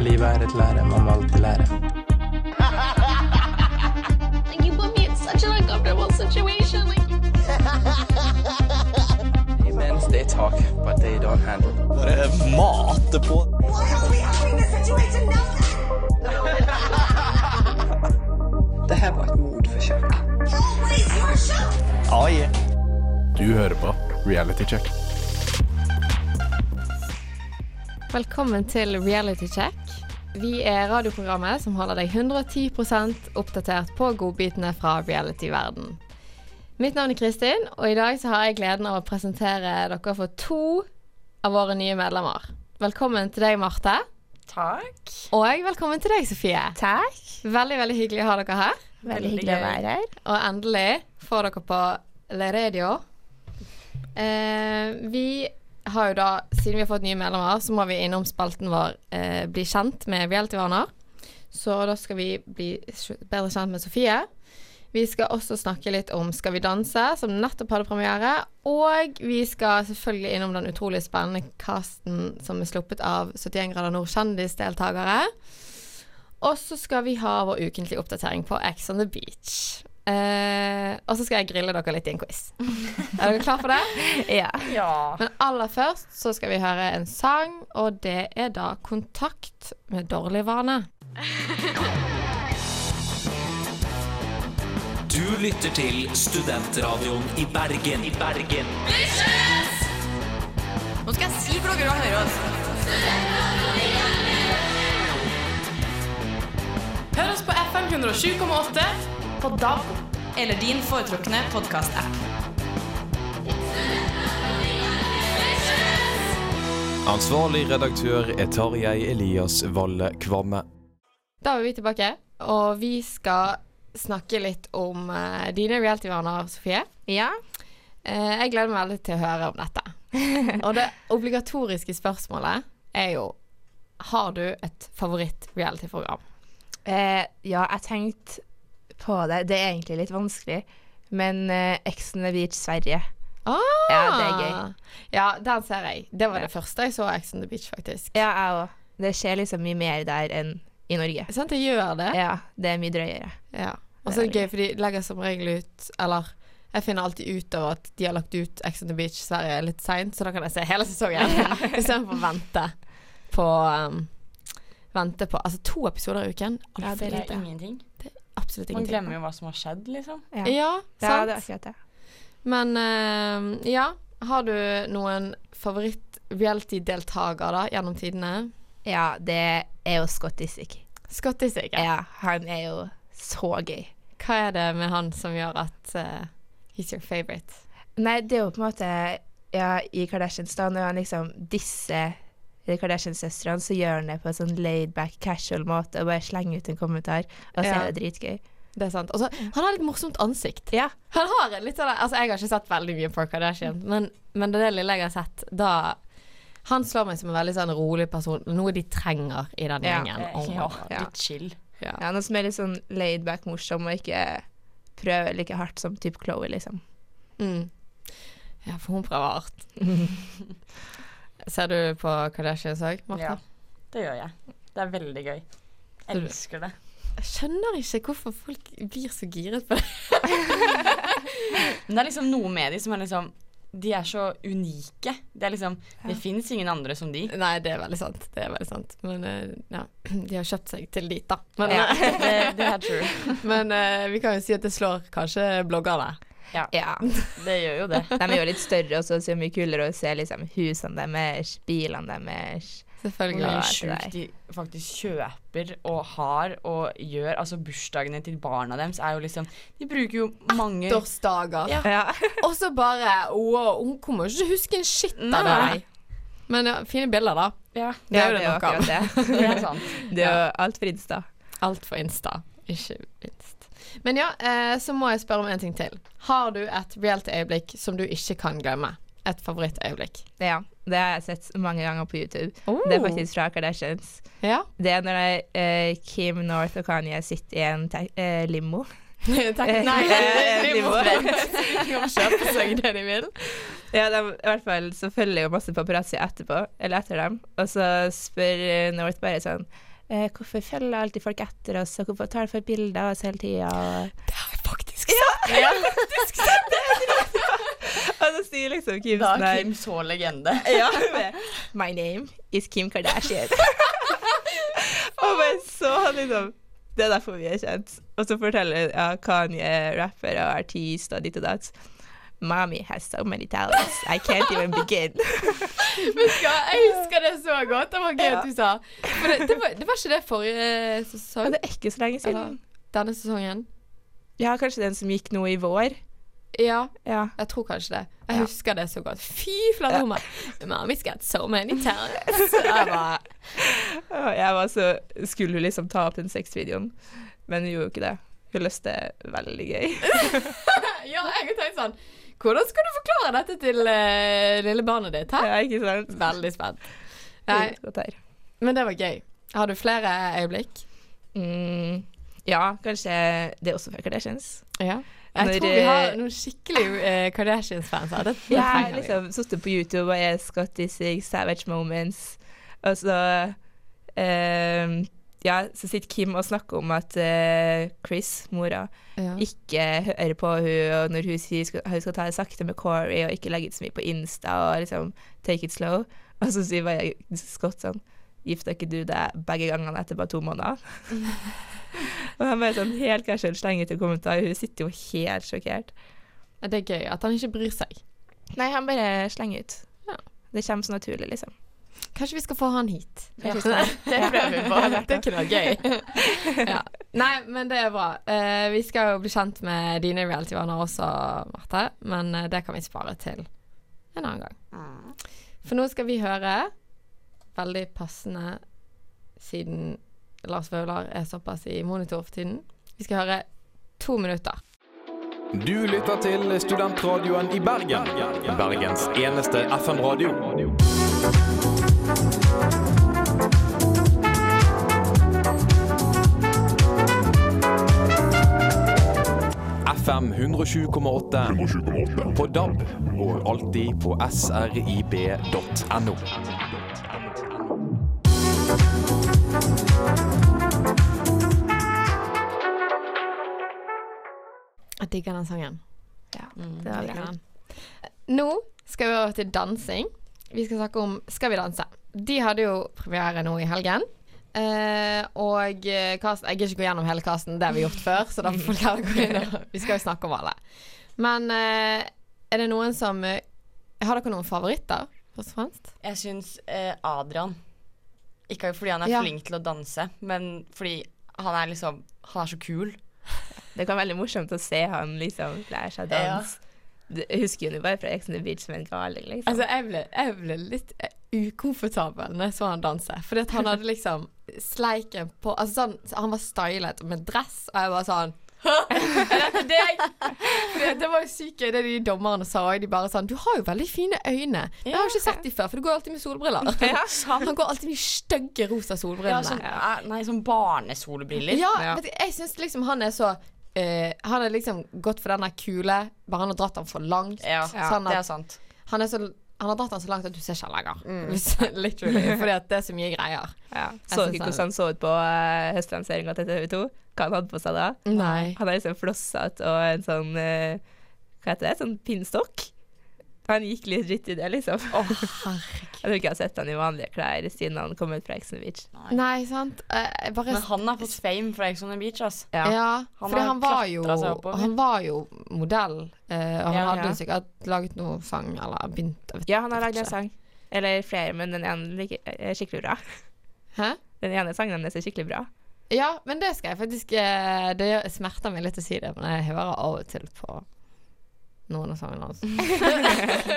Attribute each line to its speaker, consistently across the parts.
Speaker 1: Livet er et lære, man må alltid lære.
Speaker 2: Like you put me in such an uncomfortable situation. Like
Speaker 1: Hey men, they talk, but they don't handle.
Speaker 3: Bare mate på.
Speaker 4: Why are we having this situation now?
Speaker 5: Det her var et mordforsøk.
Speaker 4: Always your show.
Speaker 3: Ah, yeah.
Speaker 6: Du hører på Reality Check.
Speaker 7: Velkommen til Reality Check. Vi er radioprogrammet som holder deg 110 oppdatert på godbitene fra reality-verden. Mitt navn er Kristin, og i dag så har jeg gleden av å presentere dere for to av våre nye medlemmer. Velkommen til deg, Marte.
Speaker 8: Takk.
Speaker 7: Og velkommen til deg, Sofie.
Speaker 8: Takk.
Speaker 7: Veldig, veldig hyggelig å ha dere her.
Speaker 8: Veldig hyggelig å være her.
Speaker 7: Og endelig får dere på Le Radio. Eh, vi har jo da, siden vi har fått nye medlemmer, så må vi innom spalten vår eh, Bli kjent med reality-vaner. Så da skal vi bli sj- bedre kjent med Sofie. Vi skal også snakke litt om Skal vi danse, som nettopp hadde premiere. Og vi skal selvfølgelig innom den utrolig spennende casten som er sluppet av 71 grader nord kjendisdeltakere. Og så skal vi ha vår ukentlige oppdatering på Ex on the Beach. Eh, og så skal jeg grille dere litt i en quiz. Er dere klar for det?
Speaker 8: Ja.
Speaker 7: Men aller først så skal vi høre en sang, og det er da 'Kontakt med dårlig vane'.
Speaker 9: Du lytter til Studentradioen i Bergen. I Bergen.
Speaker 8: Nå skal jeg si for dere å høre oss. Hør oss på FM 107,8, på DAB, eller din foretrukne podcast-app.
Speaker 3: Ansvarlig redaktør er Tarjei Elias Valle Kvamme.
Speaker 7: Da er vi tilbake, og vi skal snakke litt om eh, dine reality-vaner, Sofie.
Speaker 8: Ja.
Speaker 7: Eh, jeg gleder meg veldig til å høre om dette. Og det obligatoriske spørsmålet er jo Har du et favoritt-reality-program?
Speaker 8: Eh, ja, jeg tenkte på det. Det er egentlig litt vanskelig, men eh, Ex on the Beach Sverige. Ja, det er gøy.
Speaker 7: Ah! Ja, den ser jeg. Det var det første jeg så av Ex on the Beach, faktisk.
Speaker 8: Ja, jeg òg. Det skjer liksom mye mer der enn i Norge.
Speaker 7: Sant, jeg gjør det.
Speaker 8: Ja, det er mye drøyere.
Speaker 7: Ja. Og så er det gøy, for de legger som regel ut Eller jeg finner alltid ut av at de har lagt ut Ex on the Beach Sverige litt seint, så da kan jeg se hele sesongen istedenfor å vente på um, Vente på Altså to episoder i uken.
Speaker 8: Ja, det
Speaker 7: Altfor
Speaker 8: er
Speaker 7: lite.
Speaker 10: Ingenting.
Speaker 7: Absolutt
Speaker 10: Man
Speaker 7: ingenting.
Speaker 10: glemmer jo hva som har skjedd, liksom.
Speaker 8: Ja,
Speaker 7: Ja,
Speaker 8: ja
Speaker 7: sant.
Speaker 8: det er akkurat det.
Speaker 7: Men eh, ja, har du noen favoritt-reality-deltaker da, gjennom tidene?
Speaker 8: Ja, det er jo Scott Disick.
Speaker 7: Scott Disick,
Speaker 8: Ja.
Speaker 7: ja.
Speaker 8: han er jo så gøy.
Speaker 7: Hva er det med han som gjør at eh, he's your favorite?
Speaker 8: Nei, det er jo på en måte ja, I Kardashians, da, når han liksom disser de Kardashian-søstrene, så gjør han det på en sånn laid-back, casual måte og bare slenger ut en kommentar. Og så
Speaker 7: Ja.
Speaker 8: er det dritgøy.
Speaker 7: Det er sant. Og så, han har litt morsomt ansikt.
Speaker 8: Ja.
Speaker 7: Han har litt av det. Altså, jeg har ikke sett veldig mye på Kardashian, men, men det er det lille jeg har sett, da han slår meg som en veldig sånn rolig person, noe de trenger i den
Speaker 8: Ja.
Speaker 7: gjengen.
Speaker 10: Eh,
Speaker 7: Oh my
Speaker 10: ja,
Speaker 7: God.
Speaker 8: Ja.
Speaker 10: litt chill.
Speaker 8: Ja, noe som er litt sånn laid-back, morsom, og ikke prøver like hardt som typ Chloé, liksom.
Speaker 7: Mm. Ja, for hun prøver hardt. Ser du på Kardashians òg, Martha?
Speaker 10: Ja, det gjør jeg. Det er veldig gøy. Elsker det.
Speaker 7: Jeg skjønner ikke hvorfor folk blir så giret på det.
Speaker 10: Men det er liksom noe med de som er liksom De er så unike. Det er liksom Det fins ingen andre som de.
Speaker 7: Nei, det er veldig sant. Det er veldig sant. Men eh, ja, de har kjøpt seg til dit, da. Men,
Speaker 10: Ja,
Speaker 7: eh,
Speaker 10: det, det er true.
Speaker 7: men eh, vi kan jo si at det slår kanskje bloggerne.
Speaker 8: Ja.
Speaker 10: Det gjør jo det.
Speaker 8: De er jo litt større og så ser mye kulere og ser liksom husene deres, bilene deres.
Speaker 10: Hvor mye
Speaker 8: Ja,
Speaker 7: Selvfølgelig.
Speaker 8: det er
Speaker 10: sjukt de faktisk kjøper og har og gjør. Altså bursdagene til barna deres er jo liksom De bruker jo mange
Speaker 7: Ettårsdager.
Speaker 10: Ja.
Speaker 8: Ja.
Speaker 7: Og så bare wow, Hun kommer jo ikke til å huske en shit av det.
Speaker 10: Nei.
Speaker 7: Men ja, fine bilder, da.
Speaker 10: Ja,
Speaker 7: Det er jo det
Speaker 8: jo
Speaker 7: nok av.
Speaker 8: akkurat det.
Speaker 10: det er sant.
Speaker 8: Det er jo alt Fridstad.
Speaker 7: Alt for Insta, ikke minst. Men ja, eh, så må jeg spørre om en ting til. Har du et reality-øyeblikk som du ikke kan glemme? Et favorittøyeblikk?
Speaker 8: Ja, det har jeg sett mange ganger på YouTube.
Speaker 7: Oh.
Speaker 8: Det er faktisk fra Kardashians.
Speaker 7: Ja.
Speaker 8: Det er når det er, eh, Kim North og Kanye sitter i en te eh, limo.
Speaker 7: Takk.
Speaker 8: Eh,
Speaker 7: Nei,
Speaker 8: eh,
Speaker 7: de må
Speaker 8: limo.
Speaker 7: De må kjøpe seg det de vil.
Speaker 8: Ja, de, I hvert fall så følger jo masse paparazzi etterpå, eller etter dem. Og så spør eh, North bare sånn eh, hvorfor følger alltid folk etter oss, og hvorfor tar de for bilder av oss hele tida? Og,
Speaker 7: Det har jeg faktisk sett.
Speaker 8: og så sier liksom Kim
Speaker 10: Da
Speaker 8: sånn
Speaker 10: er
Speaker 8: her
Speaker 10: Kim så legende.
Speaker 8: Ja. My name is Kim Kardashian. og bare så han liksom Det er derfor vi er kjent. Og så forteller ja, Kanye, rapper og artist og ditt og datt. Mommy has so many talents. I can't even begin.
Speaker 7: Jeg husker det så godt. Det var gøy at du sa. For det, det, var, det var ikke det forrige eh,
Speaker 8: Og
Speaker 7: sesong?
Speaker 8: det er ikke så lenge
Speaker 7: Eller
Speaker 8: siden.
Speaker 7: denne sesongen?
Speaker 8: Ja, kanskje den som gikk nå i vår.
Speaker 7: Ja,
Speaker 8: Ja.
Speaker 7: jeg tror kanskje det. Jeg husker det så godt. Fy flate hummer. Mommy's got so many talents. Jeg bare
Speaker 8: Og jeg var så Skulle hun liksom ta opp den sexvideoen? Men hun gjorde jo ikke det. Hun løste veldig gøy.
Speaker 7: Ja, jeg har tenkt sånn Hvordan skal du forklare dette til eh, lille barnet ditt? Hæ?
Speaker 8: Ja, ikke sant?
Speaker 7: Veldig spent. Nei,
Speaker 8: Godt her.
Speaker 7: men det var gøy. Har du flere øyeblikk?
Speaker 8: Mm, ja, kanskje det er også fra Kardashians.
Speaker 7: Ja. Jeg
Speaker 8: Når,
Speaker 7: tror vi har
Speaker 8: eh,
Speaker 7: noen skikkelig eh, Kardashians-fans her. Det, det
Speaker 8: Jeg har
Speaker 7: trenger vi.
Speaker 8: liksom sittet på YouTube og er Scotty Sig, Savage Moments, og så eh, Ja, så sitter Kim og snakker om at eh, Chris, mora,
Speaker 7: Ja.
Speaker 8: ikke hører på hun, og når hun sier skal- hun skal ta det sakte med Corey og ikke legge ut så mye på Insta og liksom take it slow, og så sier bare Scott sånn Gifta ikke du deg begge gangene etter bare to måneder? og han bare sånn helt casual slenger til kommentar. Hun sitter jo helt sjokkert.
Speaker 7: Det er gøy at han ikke bryr seg.
Speaker 8: Nei, han bare slenger ut.
Speaker 7: Ja.
Speaker 8: Det kommer så naturlig, liksom.
Speaker 7: Kanskje vi skal få han hit.
Speaker 8: Ja. Det prøver vi
Speaker 7: Det kunne vært gøy. ja. Nei, men det er bra. Eh, vi skal jo bli kjent med dine reality-vaner også, Marte. Men eh, det kan vi spare til en annen gang. For nå skal vi høre, veldig passende siden Lars Vaular er såpass i monitor for tiden, vi skal høre to minutter.
Speaker 3: Du lytter til studentradioen i Bergen. Bergens eneste FN-radio. FM 107,8 på DAB og alltid på srib.no.
Speaker 7: Jeg digger den sangen.
Speaker 8: Ja,
Speaker 7: Mm,
Speaker 8: det var bra.
Speaker 7: Nå skal vi over til dansing. Vi skal snakke om Skal vi danse. De hadde jo premiere nå i helgen. Eh, og eh, cast, jeg gidder ikke gå gjennom hele casten, det har vi gjort før. Så da får folk heller gå inn og Vi skal jo snakke om alle. Men eh, er det noen som eh, Har dere noen favoritter, først og fremst?
Speaker 10: Jeg syns eh, Adrian Ikke fordi han er
Speaker 7: Ja.
Speaker 10: flink til å danse, men fordi han er liksom Han er så kul.
Speaker 8: Det kan være veldig morsomt å se han liksom lære seg dans. Du- Jeg husker jo nå bare fra Ex on the Beach som en galing, liksom.
Speaker 7: Altså, jeg ble, jeg ble litt eh, ukomfortabel når jeg så han danse. Fordi at han hadde liksom sleiken på Altså sånn, han var stylet med dress, og jeg var sånn Er dette deg? Fordi at det var jo sykt gøy, det de dommerne sa òg. De bare sånn Du har jo veldig fine øyne. Jeg har jo ikke sett de før, for du går alltid med solbriller. Han går alltid med de stygge rosa
Speaker 10: Ja,
Speaker 7: solbrillene.
Speaker 10: sånn, eh, nei, sånn barnesolbriller.
Speaker 7: Ja,
Speaker 8: Ja.
Speaker 7: Vet du, jeg syns liksom han er så eh, han er liksom gått for den der kule, bare han har dratt den for langt.
Speaker 10: Ja,
Speaker 7: sånn
Speaker 10: det
Speaker 7: at
Speaker 10: er sant.
Speaker 7: han, er så, han har dratt den så langt at du ser ikke han lenger. Hvis-
Speaker 10: Mm.
Speaker 7: Literally. Fordi at det er så mye greier.
Speaker 8: Ja. Så dere
Speaker 7: synes han-
Speaker 8: hvordan han så ut på uh, høstlanseringa til TV 2? Hva han hadde på seg da?
Speaker 7: Nei.
Speaker 8: Han har liksom flosshatt og en sånn eh, Hva heter det? Sånn pinnstokk? Han gikk litt dritt i det, liksom. jeg tror ikke jeg har sett han i vanlige klær siden han kom ut fra Ex on the Beach.
Speaker 7: Nei, sant. Eh, jeg bare
Speaker 10: Men han har fått fame fra Ex on the Beach, ass.
Speaker 7: Ja,
Speaker 10: Han
Speaker 7: fordi
Speaker 10: har
Speaker 7: han var, jo,
Speaker 10: klatret seg oppover.
Speaker 7: han var jo modell, eh, og han
Speaker 10: Ja,
Speaker 7: hadde
Speaker 8: ja.
Speaker 7: jo sikkert laget noe sang eller begynt jeg vet-
Speaker 8: Ja, han har lagd en
Speaker 7: Kanskje.
Speaker 8: sang. Eller flere, men den ene liker- er skikkelig bra.
Speaker 7: Hæ?
Speaker 8: Den ene sangen hennes er skikkelig bra.
Speaker 7: Ja, men det skal jeg faktisk eh, Det gjør- smerter meg litt å si det, men jeg hører av og til på noen av sangene hans.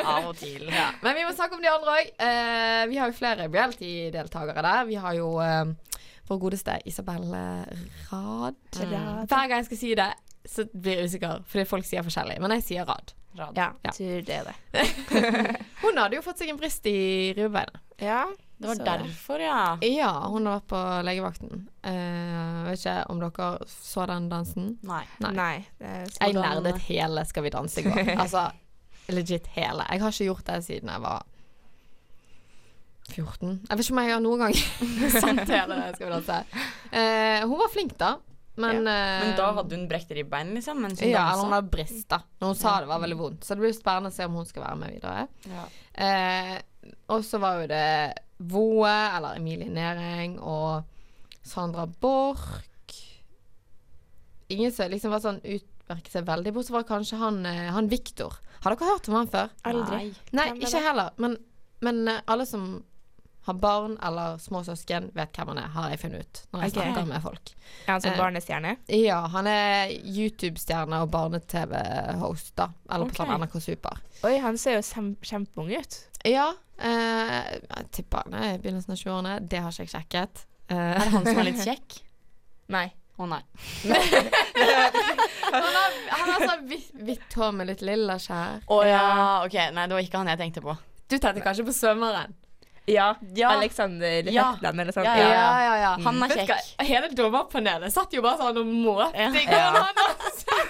Speaker 10: Av og til. Ja.
Speaker 7: Men vi må snakke om de andre òg. Eh, vi har jo flere reality-deltakere der. Vi har jo eh, vår godeste Isabel eh, Rad.
Speaker 8: Rad.
Speaker 7: Hver gang jeg skal si det, så blir jeg usikker, fordi folk sier forskjellig. Men jeg sier Rad.
Speaker 10: Rad.
Speaker 8: Ja,
Speaker 7: Ja.
Speaker 8: tror det er det.
Speaker 7: Hun hadde jo fått seg en brist i ribbeinet.
Speaker 8: Ja,
Speaker 10: Det var derfor, ja.
Speaker 7: Ja, hun har vært på legevakten. Eh, vet ikke om dere så den dansen.
Speaker 10: Nei.
Speaker 7: Nei.
Speaker 8: Nei. det er så-
Speaker 7: Jeg
Speaker 10: Hvordan-
Speaker 7: nerdet hele Skal vi danse i går. Altså legit hele. Jeg har ikke gjort det siden jeg var 14 Jeg vet ikke om jeg har noen gang sant hele det skal vi danse. Eh, hun var flink, da. Men, eh,
Speaker 10: Men da hadde hun brekt ribbein, liksom? Mens Ehm. hun
Speaker 7: ja, eller hun
Speaker 10: dansa?
Speaker 7: hadde brist, da. Når hun sa det var veldig vondt. Så det blir spennende å se om hun skal være med videre.
Speaker 10: Ja.
Speaker 7: Eh, og så var jo det Voe, eller Emilie Næring, og Sandra Borch. Ingen som liksom var sånn utmerket seg veldig, bortsett fra kanskje han, eh, han Viktor. Har dere hørt om han før?
Speaker 10: Aldri.
Speaker 7: Nei, ikke heller. Men, men eh, alle som har barn eller små søsken, vet hvem han er, har jeg funnet ut når jeg
Speaker 8: Ok.
Speaker 7: snakker med folk.
Speaker 8: Er han som
Speaker 7: Eh.
Speaker 8: barnestjerne?
Speaker 7: Ja, han er YouTube-stjerne og barne-TV-host, da. Eller på
Speaker 10: Ok.
Speaker 7: sånn NRK Super.
Speaker 8: Oi, han ser jo sem- kjempeung ut.
Speaker 7: Ja, eh, jeg tipper han er i begynnelsen av 20-årene. Det har ikke jeg sjekket. Eh,
Speaker 10: Er det han som er litt kjekk?
Speaker 8: Nei.
Speaker 10: Å nei.
Speaker 7: han har sånn hvitt- hvitt hår med litt lilla skjær.
Speaker 10: Å ja, ok. Nei, det var ikke han jeg tenkte på.
Speaker 7: Du tenkte kanskje på svømmeren?
Speaker 8: Ja.
Speaker 10: Ja.
Speaker 8: Alexander
Speaker 10: Ja.
Speaker 8: Hetland eller sånt.
Speaker 10: Ja,
Speaker 7: Ja, ja, ja.
Speaker 10: Han er
Speaker 7: Vet du
Speaker 10: kjekk.
Speaker 7: hva? Hele dommerpanelet satt jo bare sånn og målte
Speaker 10: Ja.
Speaker 7: hvordan han har sett.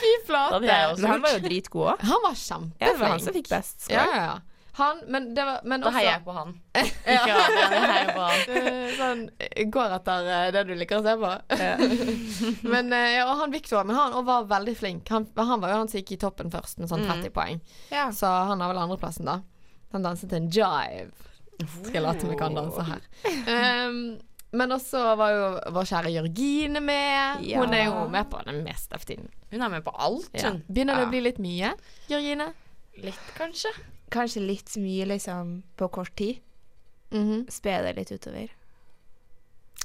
Speaker 7: Fy
Speaker 10: Da
Speaker 7: flate.
Speaker 10: hadde jeg også
Speaker 8: Men han var
Speaker 10: gjort.
Speaker 8: jo dritgod òg.
Speaker 7: Han var
Speaker 8: Ja, det var han
Speaker 7: kjempeflink.
Speaker 8: som fikk best score.
Speaker 7: Ja, ja, ja. Han, men det var men
Speaker 10: Da
Speaker 7: også,
Speaker 10: heier jeg på han. Ikke Adrian, jeg heier på han.
Speaker 7: Eh, sånn eh, går etter eh, det du liker å se på. men eh, ja, og han Victor men han og var veldig flink. Han, han var jo han som gikk i toppen først med sånn 30 poeng.
Speaker 8: Ja.
Speaker 7: Så han har vel andreplassen, da. Han danset en jive. Skal jeg late som jeg kan danse her. Ehm, men også var jo vår kjære Jørgine med.
Speaker 8: Ja.
Speaker 7: Hun er jo med på det meste av tiden.
Speaker 10: Hun er med på alt,
Speaker 7: Ja.
Speaker 10: hun.
Speaker 7: Begynner det
Speaker 10: Ja.
Speaker 7: å bli litt mye, Jørgine?
Speaker 10: Litt, kanskje.
Speaker 8: Kanskje litt mye liksom, på kort tid.
Speaker 7: Mhm.
Speaker 8: Spe det litt utover.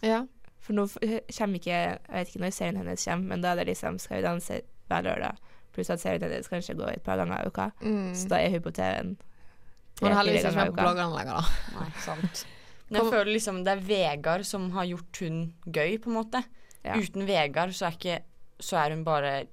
Speaker 7: Ja.
Speaker 8: For nå f- eh, kommer ikke Jeg vet ikke når serien hennes kommer, men da er det liksom Skal vi danse hver lørdag? Pluss at serien hennes kanskje går et par ganger i uka. Så da er hun på TV-en
Speaker 7: Mm. Hun er heldigvis
Speaker 8: tre-fire
Speaker 7: ikke med på
Speaker 8: ganger i uka.
Speaker 7: bloggerne lenger, da.
Speaker 10: Nei, sant. Men jeg føler liksom det er Vegard som har gjort hun gøy, på en måte.
Speaker 8: Ja.
Speaker 10: Uten Vegard så er, ikke, så er hun bare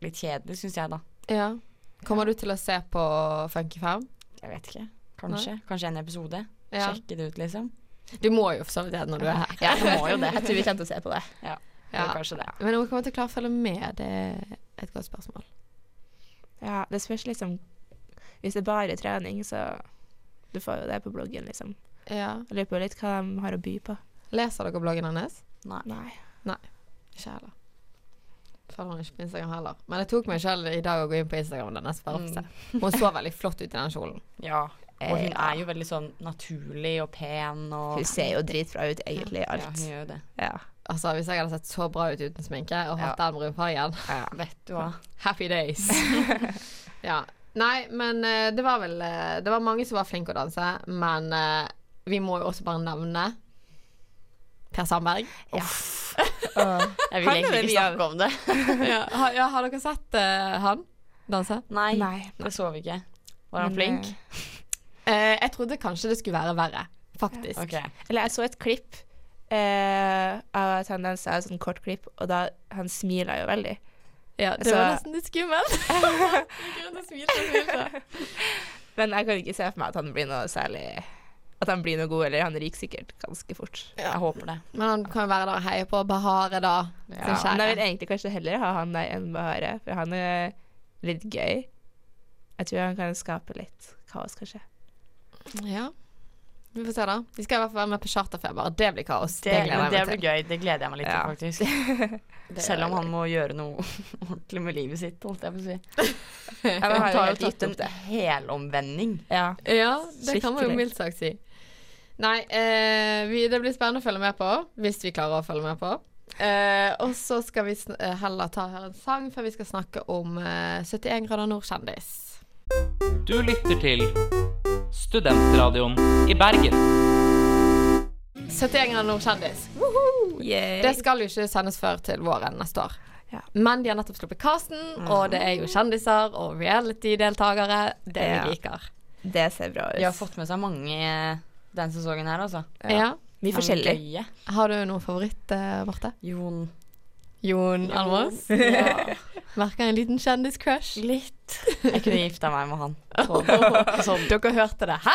Speaker 10: litt kjedelig, syns jeg, da.
Speaker 7: Ja. Kommer du til å se på Funky Farm?
Speaker 10: Jeg vet ikke. Kanskje. Kanskje en episode.
Speaker 7: Ja.
Speaker 10: Sjekke det ut, liksom.
Speaker 7: Du må jo for så vidt det når du er her.
Speaker 10: Ja, du må jo det.
Speaker 8: Jeg tror vi kommer til å se på det.
Speaker 10: Ja. Kanskje det.
Speaker 7: Men om hun kommer til å klare å følge med, det er et godt spørsmål.
Speaker 8: Ja, det spørs liksom Hvis det er bare trening, så Du får jo det på bloggen, liksom.
Speaker 7: Ja.
Speaker 8: Jeg lurer på litt hva de har å by på.
Speaker 7: Leser dere bloggen hennes?
Speaker 10: Nei.
Speaker 8: Nei.
Speaker 7: Ikke heller. Følger hun ikke på Instagram heller. Men jeg tok meg selv i dag å gå inn på Instagram hennes bare for å se. Hun så veldig flott ut i den kjolen.
Speaker 10: Ja. Og hun
Speaker 8: Ja.
Speaker 10: er jo veldig sånn naturlig og pen og
Speaker 8: Hun ser jo dritbra ut, egentlig, i
Speaker 10: Ja, hun
Speaker 8: alt.
Speaker 10: gjør jo det.
Speaker 8: Ja.
Speaker 7: Altså, hvis jeg hadde sett så bra ut uten sminke og hatt den brunfargen
Speaker 10: Vet du hva.
Speaker 7: Happy days. ja. Nei, men eh, det var vel eh, Det var mange som var flinke å danse, men eh, vi må jo også bare nevne Per Sandberg.
Speaker 10: Jeg vil
Speaker 8: Han er
Speaker 10: egentlig
Speaker 8: veldig
Speaker 10: ikke snakke om det.
Speaker 7: ja, har, ja, har dere sett eh, han danse?
Speaker 10: Nei,
Speaker 8: Nei.
Speaker 10: det så vi ikke. Var han
Speaker 8: Men,
Speaker 10: flink?
Speaker 7: Eh, jeg trodde kanskje det skulle være verre, faktisk.
Speaker 10: Ok.
Speaker 8: Eller jeg så et klipp eh, av at han dansa, et sånt kort klipp, og da han smiler jo veldig.
Speaker 7: Ja, det
Speaker 8: Så-
Speaker 7: var nesten litt skummelt.
Speaker 8: Men jeg kan ikke se for meg at han blir noe særlig At han blir noe god, eller han ryker sikkert ganske fort.
Speaker 10: Jeg håper det.
Speaker 7: Men han kan jo være der og heie på Bahare, da.
Speaker 8: Ja.
Speaker 7: Sin
Speaker 8: Men jeg vil
Speaker 7: kjære.
Speaker 8: egentlig kanskje heller ha han der enn Bahare, for han er litt gøy. Jeg tror han kan skape litt kaos, kanskje.
Speaker 7: Ja. Vi får se, da. De skal i hvert fall være med på Charterfeber. Det blir kaos.
Speaker 10: Det, men det
Speaker 7: jeg
Speaker 10: blir
Speaker 7: meg til.
Speaker 10: gøy. Det gleder jeg meg litt
Speaker 8: Ja.
Speaker 10: til, faktisk. Selv om han må gjøre noe ordentlig med livet sitt, holdt jeg på å si.
Speaker 8: men
Speaker 10: Han
Speaker 8: har jo
Speaker 10: har jo
Speaker 8: helt gitt
Speaker 10: tatt
Speaker 8: opp
Speaker 10: en helomvending.
Speaker 8: Ja.
Speaker 7: Ja, det kan man jo
Speaker 8: Skikkelig.
Speaker 7: mildt sagt si. Nei, eh, vi, det blir spennende å følge med på, hvis vi klarer å følge med på. Eh, og så skal vi sn eh, heller ta og høre en sang før vi skal snakke om eh, 71 grader nord-kjendis.
Speaker 9: Du lytter til Studentradioen i Bergen.
Speaker 7: 71 grader nord-kjendis. Det skal jo ikke sendes før til våren neste år.
Speaker 8: Ja.
Speaker 7: Men de har nettopp sluppet casten, og det er jo kjendiser og reality-deltakere. Det
Speaker 8: Ja.
Speaker 7: vi liker.
Speaker 8: Det ser bra ut.
Speaker 10: De har fått med seg mange eh, den sesongen her, altså.
Speaker 7: Ja.
Speaker 8: mye forskjellig.
Speaker 10: Men gøye.
Speaker 7: Har du noen favoritt, eh, Marte?
Speaker 10: Jon.
Speaker 7: Jon Almaas?
Speaker 10: Ja,
Speaker 7: Merker en liten kjendis-crush.
Speaker 10: litt. Jeg kunne gifta meg med han. Sånn. Sånn.
Speaker 7: Dere hørte det, hæ?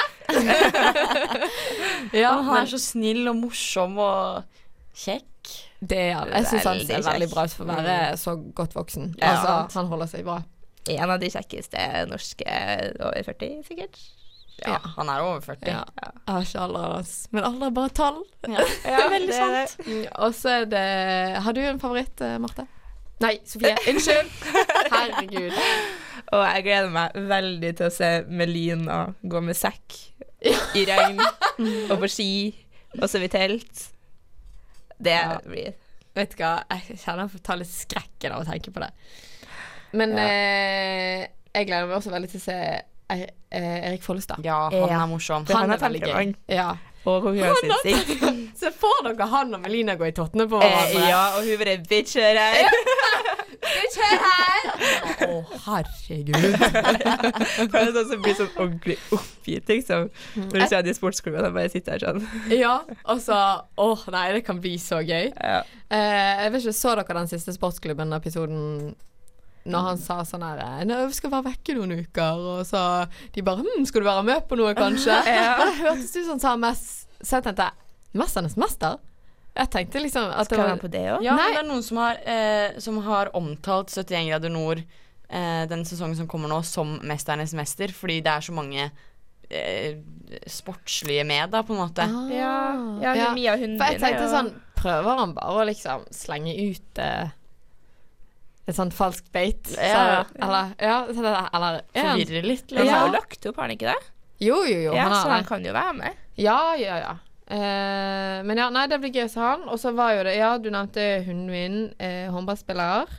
Speaker 10: Ja, han er så snill og morsom og kjekk.
Speaker 7: Det er han. Jeg syns han
Speaker 8: Veldig
Speaker 7: ser
Speaker 8: kjekk.
Speaker 7: veldig Mm. bra ut for å være så godt voksen.
Speaker 8: Ja.
Speaker 7: altså, han holder seg bra.
Speaker 8: En av de kjekkeste norske over 40, sikkert.
Speaker 10: Ja,
Speaker 7: Ja.
Speaker 10: han er over 40.
Speaker 7: Ja. Jeg har ikke alderen hans, men alder er bare tall.
Speaker 10: det er veldig sant.
Speaker 7: Mm, Og så er det Har du en favoritt, eh, Marte? Nei, Sofie. Unnskyld. Herregud.
Speaker 8: Og jeg gleder meg veldig til å se Melina gå med sekk i regn og på ski og sove i telt. Det
Speaker 7: Ja.
Speaker 8: blir
Speaker 7: Vet du hva, jeg kjenner jeg får ta litt skrekken av å tenke på det. Men eh, jeg gleder meg også veldig til å se eh, eh, Erik Follestad.
Speaker 10: Ja, han
Speaker 8: Ja.
Speaker 10: er morsom.
Speaker 8: Det- han er temperament.
Speaker 7: Ja.
Speaker 8: Og konkurranseinstinkt.
Speaker 7: Så får dere han og Melina gå i tottene på
Speaker 8: Eh,
Speaker 7: hverandre.
Speaker 8: ja, og hun bare bitch her. her.
Speaker 7: Å, herregud.
Speaker 8: For det er sånn som blir sånn ordentlig oppgitt, liksom.
Speaker 7: Mm.
Speaker 8: Når du ser de sportsklubben og bare sitter her sånn.
Speaker 7: Ja, og så Å nei, det kan bli så gøy.
Speaker 8: Ja.
Speaker 7: Eh, jeg vet ikke, Så dere den siste Sportsklubben-episoden når han sa sånn her eh, Nå, Vi skal være vekke noen uker, og så de bare Hm, skal du være med på noe, kanskje? Og det hørtes ut som han sa mest Så jeg tenkte Mesternes mester? Jeg tenkte liksom at det
Speaker 8: Skal
Speaker 7: var
Speaker 8: man på det òg?
Speaker 10: Ja,
Speaker 7: Nei.
Speaker 10: men det er noen som har, eh, som har omtalt 71 grader nord eh, den sesongen som kommer nå, som Mesternes mester, fordi det er så mange eh, sportslige med, da, på en måte.
Speaker 8: ja,
Speaker 7: Ah. Ja.
Speaker 8: Mia og hunden
Speaker 7: For jeg
Speaker 8: din er
Speaker 7: tenkte
Speaker 8: jo-
Speaker 7: sånn Prøver han bare å liksom slenge ut eh, et sånn falskt beit? Så,
Speaker 10: Ja.
Speaker 7: Eller, ja, så det- eller er han-
Speaker 10: Forvirrer litt,
Speaker 8: Han
Speaker 10: liksom.
Speaker 8: har
Speaker 7: Ja.
Speaker 8: jo lagt opp, har han ikke det?
Speaker 7: Jo, jo, jo.
Speaker 8: Ja,
Speaker 7: han har
Speaker 8: så
Speaker 7: det.
Speaker 8: han kan jo være med.
Speaker 7: Ja, ja, ja. Eh, men ja, nei, det blir gøy, sa han. Og så var jo det Ja, du nevnte hunden min, eh, håndballspiller.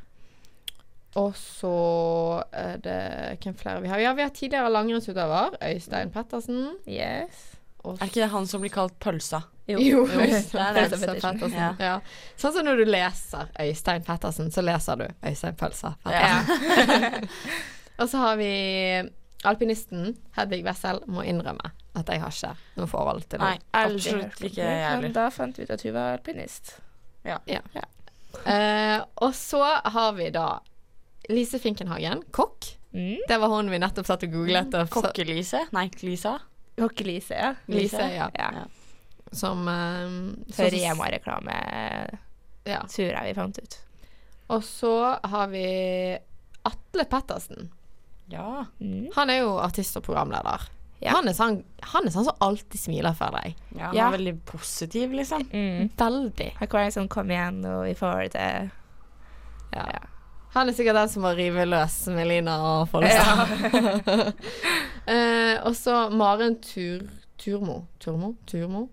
Speaker 7: Og så er det Hvem flere vi har? Ja, vi har tidligere langrennsutøver. Øystein Pettersen.
Speaker 8: Yes.
Speaker 7: Og
Speaker 10: Er ikke det han som blir kalt Pølsa?
Speaker 7: Jo,
Speaker 10: Øystein
Speaker 7: Øystein
Speaker 8: Pettersen.
Speaker 7: Pettersen. Ja. Sånn som når du leser Øystein Pettersen, så leser du Øystein Pølsa.
Speaker 10: Ja.
Speaker 7: Og så har vi alpinisten Hedvig Wessel må innrømme at jeg har ikke noe forhold til
Speaker 10: Nei,
Speaker 7: det.
Speaker 10: absolutt ikke jeg
Speaker 8: Men
Speaker 10: heller.
Speaker 8: da fant vi ut at hun var alpinist.
Speaker 7: Eh, og så har vi da Lise Finkenhagen, kokk.
Speaker 8: Mm.
Speaker 7: Det var hun vi nettopp satt og googlet. Og
Speaker 10: Kokkelise? Nei, Lisa?
Speaker 8: Hockey-Lise, ja.
Speaker 7: Lise, ja.
Speaker 8: ja.
Speaker 7: Som eh,
Speaker 8: Så
Speaker 7: så-
Speaker 8: Rema-reklame
Speaker 7: Ja.
Speaker 8: tror jeg vi fant ut.
Speaker 7: Og så har vi Atle Pettersen.
Speaker 10: Ja.
Speaker 8: Mm.
Speaker 7: Han er jo artist og programleder.
Speaker 8: Ja.
Speaker 7: Han, er sånn, han er sånn som alltid smiler for deg.
Speaker 10: ja han
Speaker 8: Ja.
Speaker 10: er veldig positiv, liksom.
Speaker 7: Veldig.
Speaker 8: Mm. Her kommer jeg sånn Kom igjen, og vi får det
Speaker 7: Ja. Han er sikkert den som må rive løs Melina og Follestad. eh, og så Maren Tur... Turmo? Turmo? Turmo?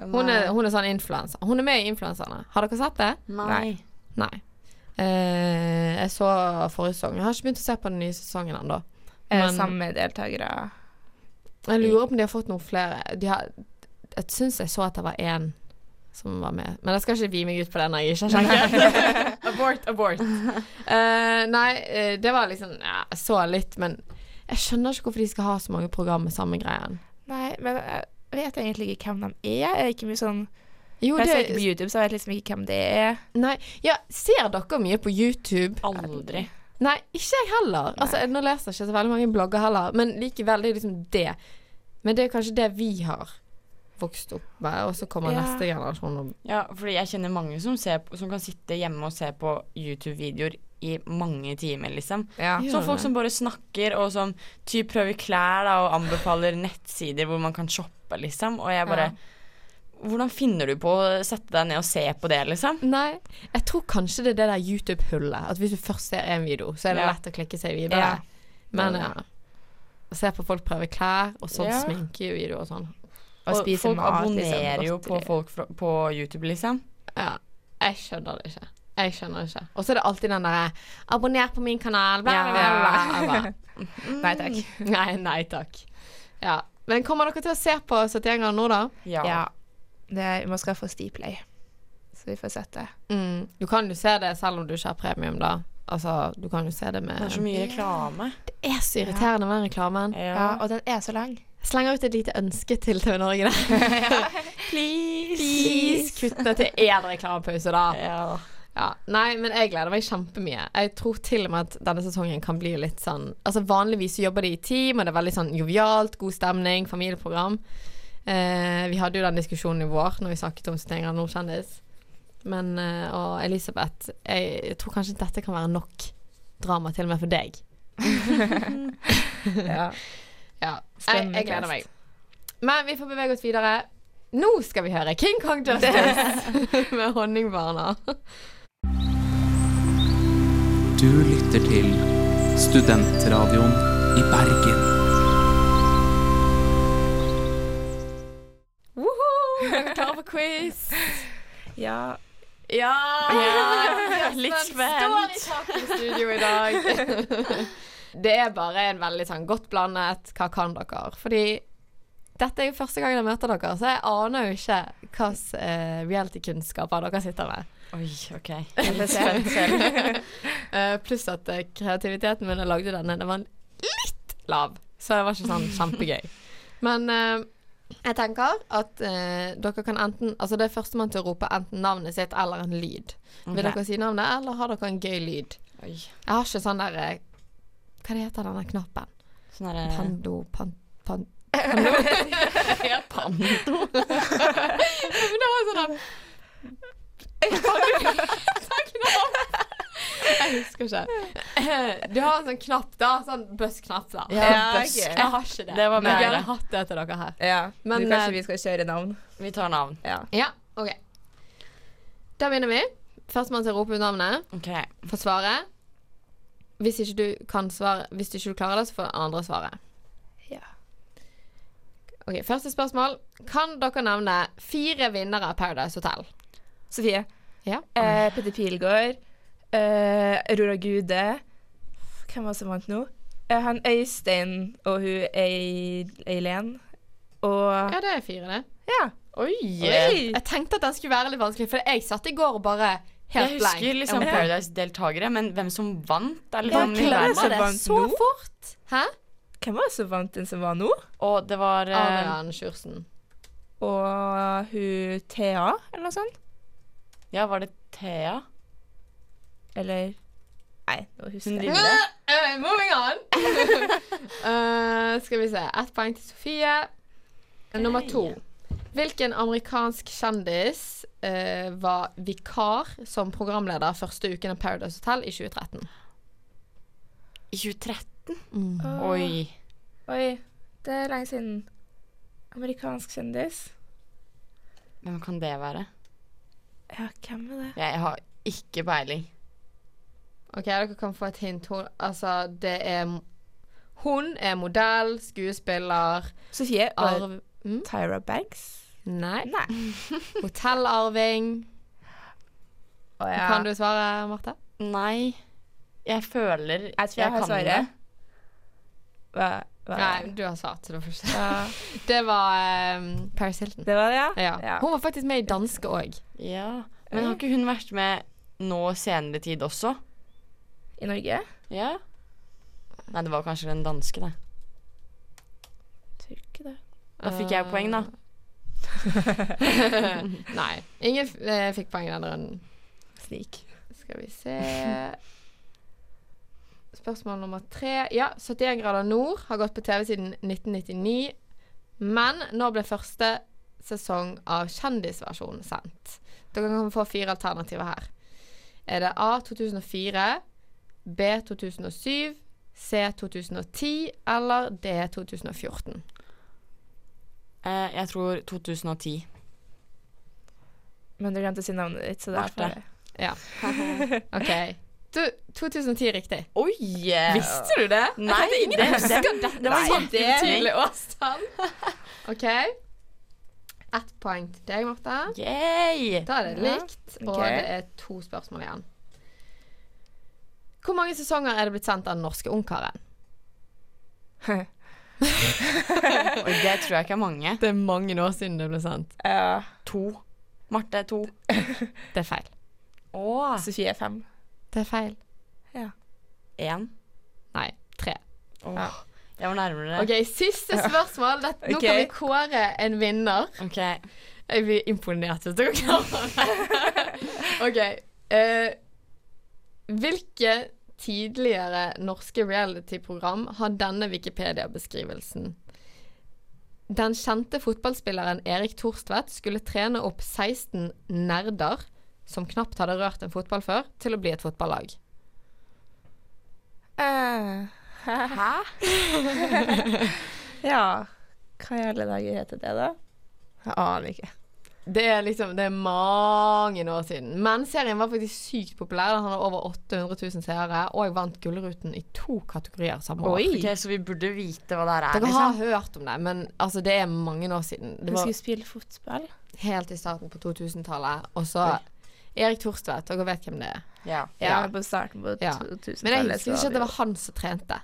Speaker 7: Hun er, hun er sånn influenser. Hun er med i Influenserne. Har dere sett det?
Speaker 10: Nei.
Speaker 7: Nei. Eh, jeg så forrige sesong. Jeg har ikke begynt å se på den nye sesongen ennå.
Speaker 8: eh,
Speaker 7: Men-
Speaker 8: samme deltakere.
Speaker 7: Jeg lurer på om de har fått noen flere. De har, jeg syns jeg så at det var én som var med. Men jeg skal ikke vie meg ut på det når jeg ikke har sjekket. abort, abort. Eh, nei, eh, det var liksom ja, Jeg så litt, men jeg skjønner ikke hvorfor de skal ha så mange program med samme greien.
Speaker 8: Nei, men jeg vet egentlig ikke hvem de er. Er det ikke mye sånn
Speaker 7: Jo,
Speaker 8: Når jeg søker på
Speaker 7: det,
Speaker 8: YouTube, så vet jeg liksom ikke hvem det er.
Speaker 7: nei, ja, ser dere mye på YouTube?
Speaker 10: Aldri.
Speaker 7: Nei, ikke jeg heller. Altså, nå leser jeg ikke så veldig mange blogger heller, men likevel, det er liksom det. Men det er kanskje det vi har vokst opp med, og så kommer
Speaker 8: Ja.
Speaker 7: neste generasjon og
Speaker 10: Ja, fordi jeg kjenner mange som, ser, på- som kan sitte hjemme og se på YouTube-videoer i mange timer, liksom.
Speaker 8: Ja.
Speaker 10: Så folk som bare snakker og som typ prøver klær da, og anbefaler nettsider hvor man kan shoppe, liksom. Og jeg bare Hvordan finner du på å sette deg ned og se på det, liksom?
Speaker 7: Nei, jeg tror kanskje det er det der YouTube-hullet. At hvis du først ser en video, så er det
Speaker 10: Ja.
Speaker 7: lett å klikke seg videre. Men ja. Se på folk prøve klær, og sånn
Speaker 10: Ja.
Speaker 7: sminkevideo og sånn.
Speaker 8: Og spiser
Speaker 10: folk
Speaker 8: mat, liksom,
Speaker 10: abonnerer jo på
Speaker 8: godteri.
Speaker 10: folk fra, på YouTube, liksom.
Speaker 7: Ja. Jeg skjønner det ikke. Jeg skjønner det ikke. Og så er det alltid den derre 'Abonner på min kanal', bla, bla, bla. bla. Jeg bare,
Speaker 8: Nei takk.
Speaker 7: Nei, nei takk. Ja. Men kommer dere til å se på 71 ganger nå, da?
Speaker 10: Ja.
Speaker 8: Ja. Det er, vi må skaffe oss Dplay, så vi får sett det.
Speaker 7: Du kan jo se det selv om du ikke har premium, da. Altså, du kan jo se det med
Speaker 10: Det er så mye reklame.
Speaker 7: Det er så irriterende med den reklamen.
Speaker 8: Ja. og den er så lang.
Speaker 7: Slenger ut et lite ønske til TV Norge der. Please. Please kutt det til én reklamepause, da.
Speaker 10: Ja.
Speaker 7: Ja. Nei, men jeg gleder meg kjempemye. Jeg tror til og med at denne sesongen kan bli litt sånn Altså Vanligvis så jobber de i team, og det er veldig sånn jovialt, god stemning, familieprogram. Eh, vi hadde jo den diskusjonen i vår når vi snakket om 71 grader nord-kjendis. Men, eh, og Elisabeth, jeg tror kanskje dette kan være nok drama til og med for deg. Ja. Jeg, jeg gleder meg. Men vi får bevege oss videre. Nå skal vi høre King Kong Justice med Honningbarna.
Speaker 9: Du lytter til Studentradioen i Bergen.
Speaker 7: Woho! Er vi klare for quiz?
Speaker 8: Ja.
Speaker 10: Ja, litt
Speaker 7: Står i
Speaker 10: spent.
Speaker 7: taket i studio i dag. Det er bare en veldig sånn godt blandet 'hva kan dere?' Fordi dette er jo første gang jeg møter dere, så jeg aner jo ikke hvilke eh, reality-kunnskaper dere sitter med.
Speaker 10: Oi, ok.
Speaker 7: Eh, pluss at eh, kreativiteten min da jeg lagde denne, den var litt lav. Så det var ikke sånn kjempegøy. Men eh, jeg tenker at eh, dere kan enten Altså det er førstemann til å rope enten navnet sitt eller en lyd. Vil
Speaker 10: Ok.
Speaker 7: dere si navnet, eller har dere en gøy lyd?
Speaker 10: Oi.
Speaker 7: Jeg har ikke sånn der eh, Hva det heter denne knappen?
Speaker 10: Sånn derre
Speaker 7: Pando pan, pan,
Speaker 10: Ja, pann.
Speaker 7: Men det var sånn der- Jeg husker ikke. Du har en sånn knapp, da. Sånn bøssknapp, da.
Speaker 8: Ja,
Speaker 10: Bøss.
Speaker 8: ok.
Speaker 7: Jeg har ikke det.
Speaker 10: Det var
Speaker 7: Men Jeg
Speaker 10: bedre.
Speaker 7: har hatt det til dere her.
Speaker 8: ja.
Speaker 7: Men,
Speaker 8: Men,
Speaker 7: eh,
Speaker 8: kanskje vi skal kjøre navn?
Speaker 10: Vi tar navn.
Speaker 8: Ja.
Speaker 7: Ja, OK. Da begynner vi. Førstemann til å rope ut navnet
Speaker 10: Ok.
Speaker 7: får svaret. Hvis ikke du kan svare Hvis du ikke klarer det, så får andre svaret.
Speaker 8: Ja.
Speaker 7: OK, første spørsmål. Kan dere nevne fire vinnere av Paradise Hotel?
Speaker 8: Sofie.
Speaker 7: Ja.
Speaker 8: Eh, Petter Pilgaard. Eh, Aurora Gude. Hvem var det som vant nå? Eh, han Øystein og hun Ei- Eileen. Og
Speaker 7: Ja, det er fire, det.
Speaker 8: ja.
Speaker 10: Oi.
Speaker 7: Jeg tenkte at den skulle være litt vanskelig, for jeg satt i går og bare
Speaker 10: Jeg
Speaker 7: helt blank.
Speaker 10: husker liksom
Speaker 7: Jeg
Speaker 10: Paradise-deltakere, men hvem som vant? Eller
Speaker 7: bare,
Speaker 10: hvem
Speaker 7: Jeg
Speaker 10: i
Speaker 7: glemmer
Speaker 10: verden?
Speaker 8: som
Speaker 7: det
Speaker 8: vant
Speaker 7: så
Speaker 8: nå?
Speaker 7: fort. Hæ?
Speaker 8: Hvem var det som vant den som var nå?
Speaker 10: Og det var
Speaker 7: Ah,
Speaker 10: eh,
Speaker 7: Adrian Sjursen.
Speaker 8: Og hun Thea, eller noe sånt?
Speaker 10: Ja, var det Thea?
Speaker 8: Eller Nei, nå
Speaker 10: Hun
Speaker 8: husker jeg
Speaker 10: lille?
Speaker 7: Eh, moving on. Eh, skal vi se. Ett poeng til Sofie. Nummer to. Hvilken amerikansk kjendis eh, var vikar som programleder første uken av Paradise Hotel i 2013?
Speaker 10: I 2013?
Speaker 8: Åh,
Speaker 10: Oi.
Speaker 8: Oi, det er lenge siden. Amerikansk kjendis.
Speaker 10: Hvem kan det være?
Speaker 8: Ja, hvem er det?
Speaker 10: Jeg har ikke peiling.
Speaker 7: Ok, dere kan få et hint. Hun, altså, det er Hun er modell, skuespiller,
Speaker 8: Sofie og
Speaker 7: arv... Mm?
Speaker 8: Tyra Banks.
Speaker 7: Nei.
Speaker 8: Nei.
Speaker 7: Hotellarving.
Speaker 8: Å, ja.
Speaker 7: Kan du svare, Marte?
Speaker 10: Nei. Jeg føler
Speaker 8: Jeg tror jeg, har
Speaker 10: kan
Speaker 8: svaret. Hva, hva?
Speaker 7: Nei, du har svart. så du får ikke-
Speaker 8: Ja.
Speaker 7: Det var um, Paris Hilton.
Speaker 8: Det var det, ja?
Speaker 7: Ja.
Speaker 8: Ja.
Speaker 7: Hun var faktisk med i danske òg.
Speaker 10: det. Ja. Men har ikke hun vært med nå senere tid også?
Speaker 8: I Norge?
Speaker 10: Ja. Nei, det var kanskje den danske, det.
Speaker 8: Tror ikke det.
Speaker 10: Da fikk
Speaker 7: Ah.
Speaker 10: jeg poeng, da.
Speaker 7: Eh, Nei. Ingen f- eh, fikk poeng i denne runden.
Speaker 8: Snik.
Speaker 7: Skal vi se Spørsmål nummer tre. Ja, 71 grader nord har gått på TV siden 1999. Men nå ble første sesong av kjendisversjonen sendt. Dere kan få fire alternativer her. Er det A 2004, B 2007, C 2010 eller D 2014?
Speaker 10: Eh, jeg tror 2010.
Speaker 8: Men du glemte å si navnet ditt, så derfor
Speaker 10: Marte.
Speaker 7: Ja. OK. Du, 2010 er riktig.
Speaker 10: Oi!
Speaker 7: Eh,
Speaker 10: Visste du det? Nei, det, det, det, det var kjempetydelig.
Speaker 7: årstall. sånn OK. Ett poeng til deg, Marte.
Speaker 10: Yay!
Speaker 7: Da er det
Speaker 8: Ja,
Speaker 7: likt, og
Speaker 8: ok.
Speaker 7: det er to spørsmål igjen. Hvor mange sesonger er det blitt sendt av Den norske Ungkaren?
Speaker 10: Oi, det tror jeg ikke er mange.
Speaker 7: Det er mange år siden det ble sendt.
Speaker 8: Ja.
Speaker 10: To. Marte, to.
Speaker 7: Det er feil.
Speaker 10: Å,
Speaker 8: Ah. Sofie er fem.
Speaker 7: Det er feil.
Speaker 10: én.
Speaker 7: Nei, tre.
Speaker 10: Åh, Jeg var nærmere.
Speaker 7: OK, siste spørsmål. Dette, Nå
Speaker 8: Ok.
Speaker 7: kan vi kåre en vinner.
Speaker 10: Ok.
Speaker 7: Jeg blir imponert hvis dere klarer det. OK. eh, hvilke tidligere norske reality-program har denne Wikipedia-beskrivelsen? Den kjente fotballspilleren Erik Thorstvedt skulle trene opp 16 nerder som knapt hadde rørt en fotball før, til å bli et fotballag.
Speaker 8: Eh,
Speaker 10: Hæ?
Speaker 8: Ja, hva i alle dager heter det, da? Jeg aner ikke.
Speaker 7: Det er liksom, det er mange år siden. Men serien var faktisk sykt populær. Den hadde over 800 000 seere og vant Gullruten i to kategorier samme år.
Speaker 10: Ok, Så vi burde vite hva det her er,
Speaker 7: Dere har
Speaker 10: liksom?
Speaker 7: hørt om det, men altså, det er mange år siden. Det
Speaker 8: Vi
Speaker 7: var
Speaker 8: skulle spille fotball.
Speaker 7: helt i starten på 2000-tallet. Og så Erik Thorstvedt, dere vet hvem det er.
Speaker 10: Ja.
Speaker 8: Ja,
Speaker 7: Ja.
Speaker 8: på starten på
Speaker 7: Ja.
Speaker 8: 2000-tallet.
Speaker 7: Men jeg husker
Speaker 8: så
Speaker 7: ikke at
Speaker 8: vi-
Speaker 7: det var han som trente.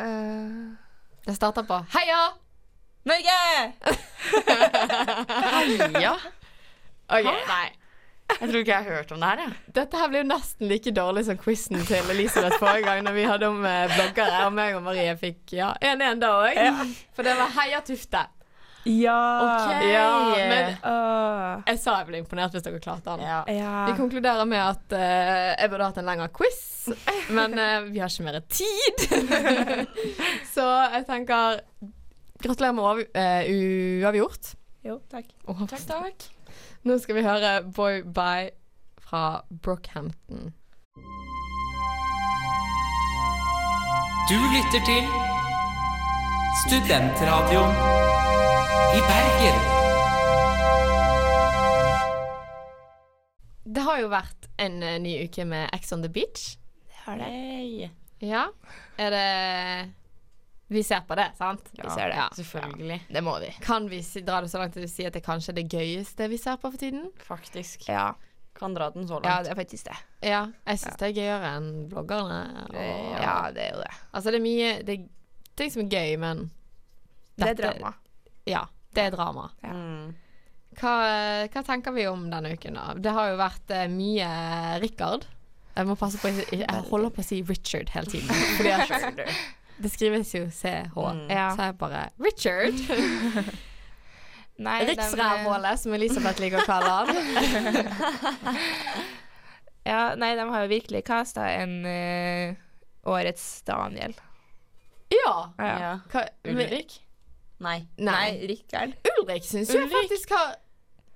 Speaker 8: Eh,
Speaker 7: Det starta på Heia!
Speaker 8: Norge!
Speaker 10: ja. Ok, nei. Jeg tror ikke jeg har hørt om det her, jeg.
Speaker 7: Dette her ble jo nesten like dårlig som quizen til Elisabeth forrige gang når vi hadde om eh, bloggere, og meg og Marie fikk ja, 1-1 da òg. For det var Heia Tufte.
Speaker 8: Ja!
Speaker 10: Ok.
Speaker 7: Ja, men
Speaker 8: Åh.
Speaker 7: jeg sa jeg ble imponert hvis dere klarte den.
Speaker 10: Ja.
Speaker 8: ja.
Speaker 7: Vi konkluderer med at eh, jeg burde hatt en lengre quiz, men eh, vi har ikke mer tid. Så jeg tenker gratulerer med over, eh, uavgjort.
Speaker 8: Jo, takk.
Speaker 10: Takk, takk.
Speaker 7: Nå skal vi høre Boy Bye fra Brockhampton.
Speaker 9: Du lytter til Studentradioen i Bergen.
Speaker 7: Det har jo vært en eh, ny uke med Ex on the beach.
Speaker 8: Har det.
Speaker 7: Ja. Er det Vi ser på det, sant?
Speaker 10: Vi ser det.
Speaker 7: Ja.
Speaker 10: Selvfølgelig.
Speaker 8: Det må vi.
Speaker 7: Kan vi si, dra det så langt at vi sier at det kanskje er det gøyeste vi ser på for tiden?
Speaker 10: Faktisk.
Speaker 8: Ja,
Speaker 10: Kan dra den så langt.
Speaker 8: ja det er faktisk det.
Speaker 7: Ja, jeg syns det er gøyere enn bloggerne. Og,
Speaker 8: Ja, det er jo det.
Speaker 7: Altså, det er mye Det er ting som er gøy, men
Speaker 8: Det er
Speaker 7: Dette-
Speaker 8: drama.
Speaker 7: ja, det er drama.
Speaker 10: Mm.
Speaker 7: Hva, hva tenker vi om denne uken, da? Det har jo vært eh, mye Richard. Jeg må passe på å ikke- Jeg holder på å si Richard hele tiden. Fordi jeg, det skrives jo CH,
Speaker 8: Ja.
Speaker 7: så jeg bare Richard.
Speaker 8: Nei, eh, de,
Speaker 7: Riksrævhålet, som Elisabeth liker å kalle han.
Speaker 8: ja, nei, de har jo virkelig kasta en eh, årets Daniel.
Speaker 7: Ja.
Speaker 8: Ja.
Speaker 10: Ja.
Speaker 7: Hva, men,
Speaker 10: Ulrik? Nei.
Speaker 7: nei.
Speaker 8: Rikard.
Speaker 7: Ulrik syns jo jeg faktisk har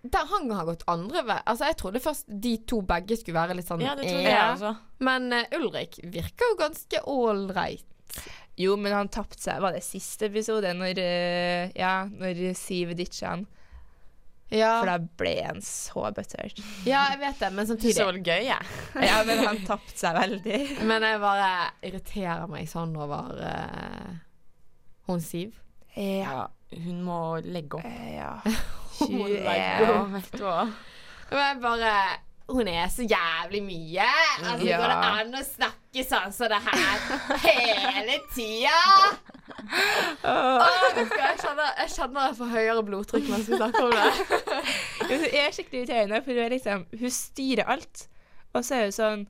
Speaker 7: der han har gått andre vei. Altså, jeg trodde først de to begge skulle være litt sånn
Speaker 10: Ja, det trodde
Speaker 7: eh,
Speaker 10: jeg også.
Speaker 7: Men eh, Ulrik virker jo ganske ålreit.
Speaker 8: Jo, men han tapte seg Var det siste episode, når, eh, ja, når Siv ditcha han? For
Speaker 7: Ja,
Speaker 8: da ble han så butthurt.
Speaker 7: ja, jeg vet det, men
Speaker 10: Det så
Speaker 7: samtidig
Speaker 10: vel gøy, jeg.
Speaker 8: Ja, men han tapte seg veldig.
Speaker 7: Men jeg bare irriterer meg sånn over eh, hun Siv.
Speaker 8: Ja.
Speaker 10: Hun må legge opp.
Speaker 8: ja.
Speaker 7: Hun må legge
Speaker 10: Ja,
Speaker 8: Ja.
Speaker 10: vet du hva.
Speaker 7: Men jeg bare Hun er så jævlig mye. Altså,
Speaker 8: Ja.
Speaker 7: Går det an å snakke sånn som det her hele tida? Åh, vet du hva, Jeg kjenner, jeg kjenner jeg får høyere blodtrykk mens vi snakker om det.
Speaker 8: Jo, Hun er skikkelig irriterende, for hun, er liksom, hun styrer alt. Og så er hun sånn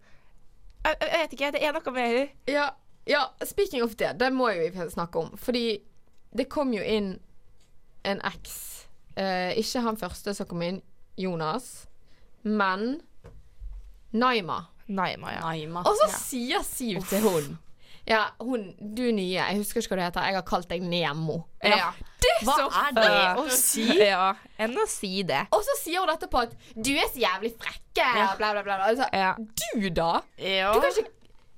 Speaker 8: jeg, jeg vet ikke, det er noe med henne.
Speaker 7: Ja, ja, speaking of det, det må jo vi snakke om. Fordi det kom jo inn en eks. Eh, ikke han første som kom inn, Jonas, men Naima.
Speaker 8: Naima, ja.
Speaker 10: Naima.
Speaker 7: Og så sier Siv til hun Ja, hun, du er nye, jeg husker ikke hva du heter, jeg har kalt deg Nemo.
Speaker 8: Ja.
Speaker 7: Det
Speaker 10: Hva
Speaker 7: så
Speaker 10: er det
Speaker 8: Ja.
Speaker 10: å si?
Speaker 8: ja. Enn å si det.
Speaker 7: Og så sier hun dette på at du er så jævlig frekke, ja. bla, bla, bla. bla. Altså,
Speaker 8: Ja.
Speaker 7: Du, da?
Speaker 10: Ja.
Speaker 7: Du kan ikke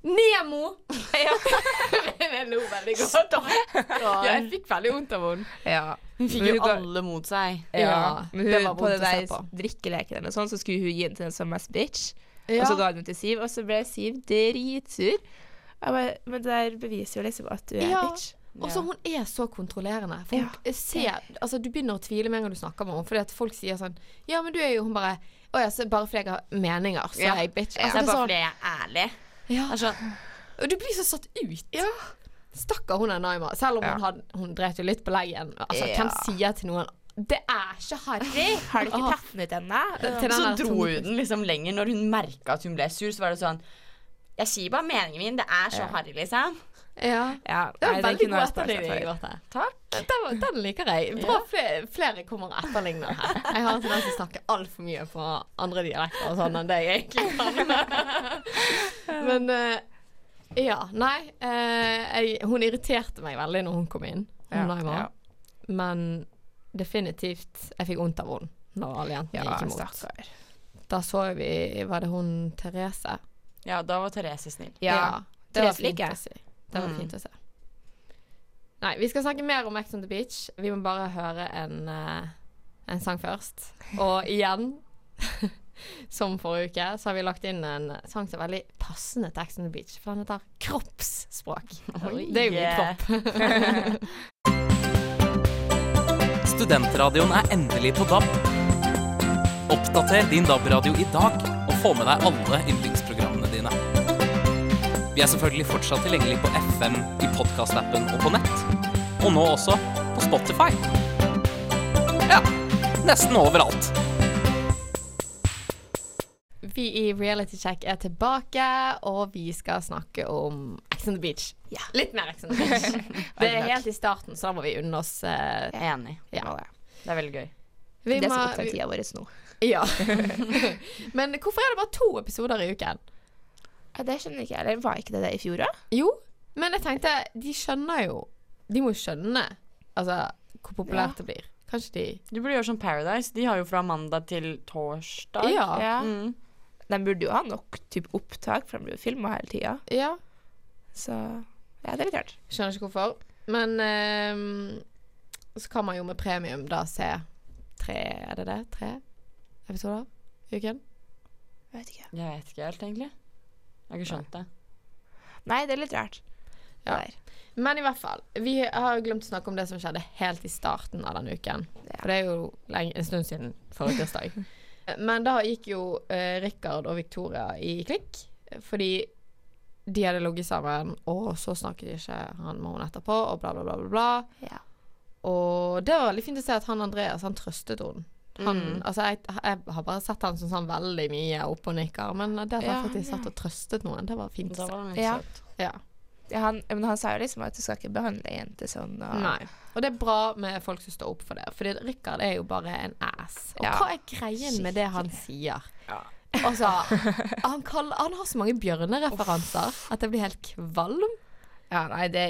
Speaker 7: Nemo! jeg lo veldig godt. Ja, jeg fikk veldig vondt av henne.
Speaker 8: ja.
Speaker 10: Hun fikk jo alle mot seg.
Speaker 7: Ja,
Speaker 8: Men
Speaker 7: det
Speaker 8: hun,
Speaker 7: var
Speaker 8: på den
Speaker 7: vondt å se
Speaker 8: der
Speaker 7: på.
Speaker 8: drikkeleken eller sånn, så skulle hun gi den til den som mest bitch. Og
Speaker 7: Ja.
Speaker 8: så ga hun den til Siv, og så ble Siv dritsur. Jeg bare, men det der beviser jo liksom at du er
Speaker 7: Ja.
Speaker 8: bitch.
Speaker 7: Og så hun er så kontrollerende. For hun ser, altså Du begynner å tvile med en gang du snakker med henne. Fordi at folk sier sånn Ja, men du er jo Hun bare Å ja, så bare fordi jeg har meninger, så
Speaker 10: Ja.
Speaker 7: er jeg bitch.
Speaker 10: Altså, det er
Speaker 7: det er
Speaker 10: bare
Speaker 7: sånn-
Speaker 10: fordi jeg er ærlig.
Speaker 7: Ja.
Speaker 10: Det er sånn,
Speaker 7: Og du blir så satt ut. Stakkar hun er Naima. Selv om hun, had, hun dreit jo litt på leien. Altså, Hvem sier til noen Det er ikke harry!
Speaker 8: Har du ikke
Speaker 7: Åh,
Speaker 8: tatt den ut ennå?
Speaker 7: til Ah. den der
Speaker 10: så
Speaker 7: sånn-
Speaker 10: dro
Speaker 7: tunge-
Speaker 10: hun den liksom lenger når hun merka at hun ble sur. Så var det sånn Jeg sier bare meningen min. Det er så harry, liksom.
Speaker 7: Ja.
Speaker 8: Ja,
Speaker 7: Det var
Speaker 8: nei, den
Speaker 7: veldig
Speaker 8: kunne
Speaker 7: god
Speaker 8: jeg spart meg
Speaker 7: etterligning,
Speaker 8: for.
Speaker 7: Grete.
Speaker 10: Takk.
Speaker 7: Den, var- den liker jeg. Bra flere, flere kommer og etterligner her. Jeg har en tendens til å snakke altfor mye fra andre dialekter og sånn enn det jeg egentlig kan. Men eh, ja, nei. eh, jeg, hun irriterte meg veldig når hun kom inn. Hun
Speaker 8: Ja,
Speaker 7: Naima.
Speaker 8: ja.
Speaker 7: Men definitivt Jeg fikk vondt av henne når alle jentene
Speaker 8: Ja,
Speaker 7: gikk imot.
Speaker 8: stakkar.
Speaker 7: Da så vi Var det hun Therese?
Speaker 10: Ja, da var Therese snill.
Speaker 8: Ja.
Speaker 7: det var
Speaker 8: Therese
Speaker 7: fint
Speaker 8: liker jeg.
Speaker 10: Mm.
Speaker 7: å se. Det var fint å se. Nei, vi skal snakke mer om Ex on the Beach. Vi må bare høre en, eh, en sang først. Og igjen, som forrige uke, så har vi lagt inn en sang som er veldig passende til Ex on the Beach. For den heter Kroppsspråk. det er jo litt
Speaker 10: yeah.
Speaker 7: kropp.
Speaker 9: Studentradioen er endelig på DAB. Oppdater din DAB-radio i dag og få med deg alle yndlingsprogrammene dine. Vi er selvfølgelig fortsatt tilgjengelig på FM, i podkastappen og på nett. Og nå også på Spotify. Ja, nesten overalt.
Speaker 7: Vi i Reality Check er tilbake, og vi skal snakke om Ex on the Beach. Litt mer Ex on the Beach. Det er helt i starten, så da må vi unne oss eh,
Speaker 10: Jeg er enig.
Speaker 7: Ja.
Speaker 10: Det er veldig gøy.
Speaker 7: Vi
Speaker 8: Det
Speaker 7: må,
Speaker 8: som opptar
Speaker 7: vi,
Speaker 8: tida vår nå.
Speaker 7: ja. Men hvorfor er det bare to episoder i uken?
Speaker 8: Ja, det skjønner ikke jeg. Eller var ikke det det i fjor òg?
Speaker 7: Jo, men jeg tenkte De skjønner jo De må jo skjønne altså, hvor populært det blir. Kanskje de
Speaker 10: Du burde gjøre som Paradise. De har jo fra mandag til torsdag.
Speaker 7: Ja.
Speaker 8: Ja.
Speaker 10: Mm.
Speaker 8: De burde jo ha nok typ, opptak, for de blir jo filma hele tida.
Speaker 7: Ja,
Speaker 8: Så ja, det er litt rart.
Speaker 7: skjønner ikke hvorfor. Men ehm, så kan man jo med premium da se tre Er det det? Tre episoder i uken?
Speaker 8: Jeg vet ikke.
Speaker 10: Jeg vet ikke helt, egentlig. Jeg har ikke skjønt det.
Speaker 8: Nei, det er litt rart.
Speaker 7: Ja.
Speaker 8: Der.
Speaker 7: Men i hvert fall, vi har glemt å snakke om det som skjedde helt i starten av denne uken. For det er jo lenge, en stund siden forrige tirsdag. Men da gikk jo eh, Rikard og Victoria i klikk, fordi de hadde ligget sammen, og så snakket ikke han med henne etterpå, og bla, bla, bla, bla. bla.
Speaker 8: Ja.
Speaker 7: Og det var veldig fint å se at han Andreas, han trøstet henne. Han, altså jeg, jeg har bare sett han som sånn veldig mye opp og nikker, men det at han
Speaker 8: Ja,
Speaker 7: faktisk satt og trøstet noen, det var fint. å
Speaker 10: Da
Speaker 7: se.
Speaker 10: var det
Speaker 8: Ja.
Speaker 10: litt søtt.
Speaker 7: Ja.
Speaker 8: Ja, han, men han sa jo liksom at du skal ikke behandle ei jente sånn. Og,
Speaker 7: Nei. Og det er bra med folk som står opp for det, Fordi Rikard er jo bare en ass. Og
Speaker 8: Ja.
Speaker 7: hva er greien med det han sier? Altså, han, kaller, han har så mange bjørnereferanser at jeg blir helt kvalm.
Speaker 8: Ja, nei, det